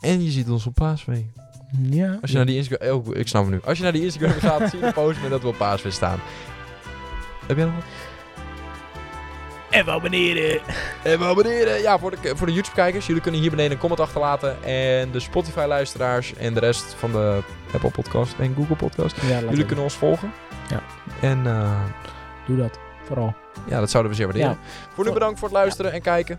En je ziet ons op Paasvee. Ja. Als je naar die Instagram... Oh, ik snap het nu. Als je naar die (laughs) Instagram gaat, zie je een post met dat we op paasfeest staan. Heb jij nog wat? En we abonneren. En abonneren. Ja, voor de, voor de YouTube-kijkers. Jullie kunnen hier beneden een comment achterlaten. En de Spotify-luisteraars en de rest van de Apple Podcast en Google Podcast. Ja, laten Jullie we- kunnen ons volgen. Ja. En eh, Doe dat. Vooral. ja, dat zouden we zeer waarderen. Ja. Voor nu bedankt voor het luisteren en kijken.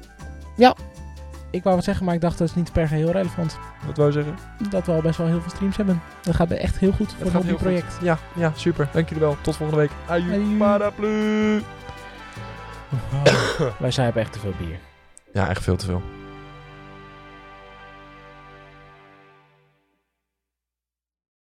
Ik wou wat zeggen, maar ik dacht dat is niet per se heel relevant. Wat wou je zeggen? Dat we al best wel heel veel streams hebben. Dat gaat echt heel goed voor Het een gaat heel hobbyproject. goed. Ja, ja, super. Dank jullie wel. Tot volgende week. Aju, Aju. paraplu. Wij zuipen echt te veel bier. Ja, echt veel te veel.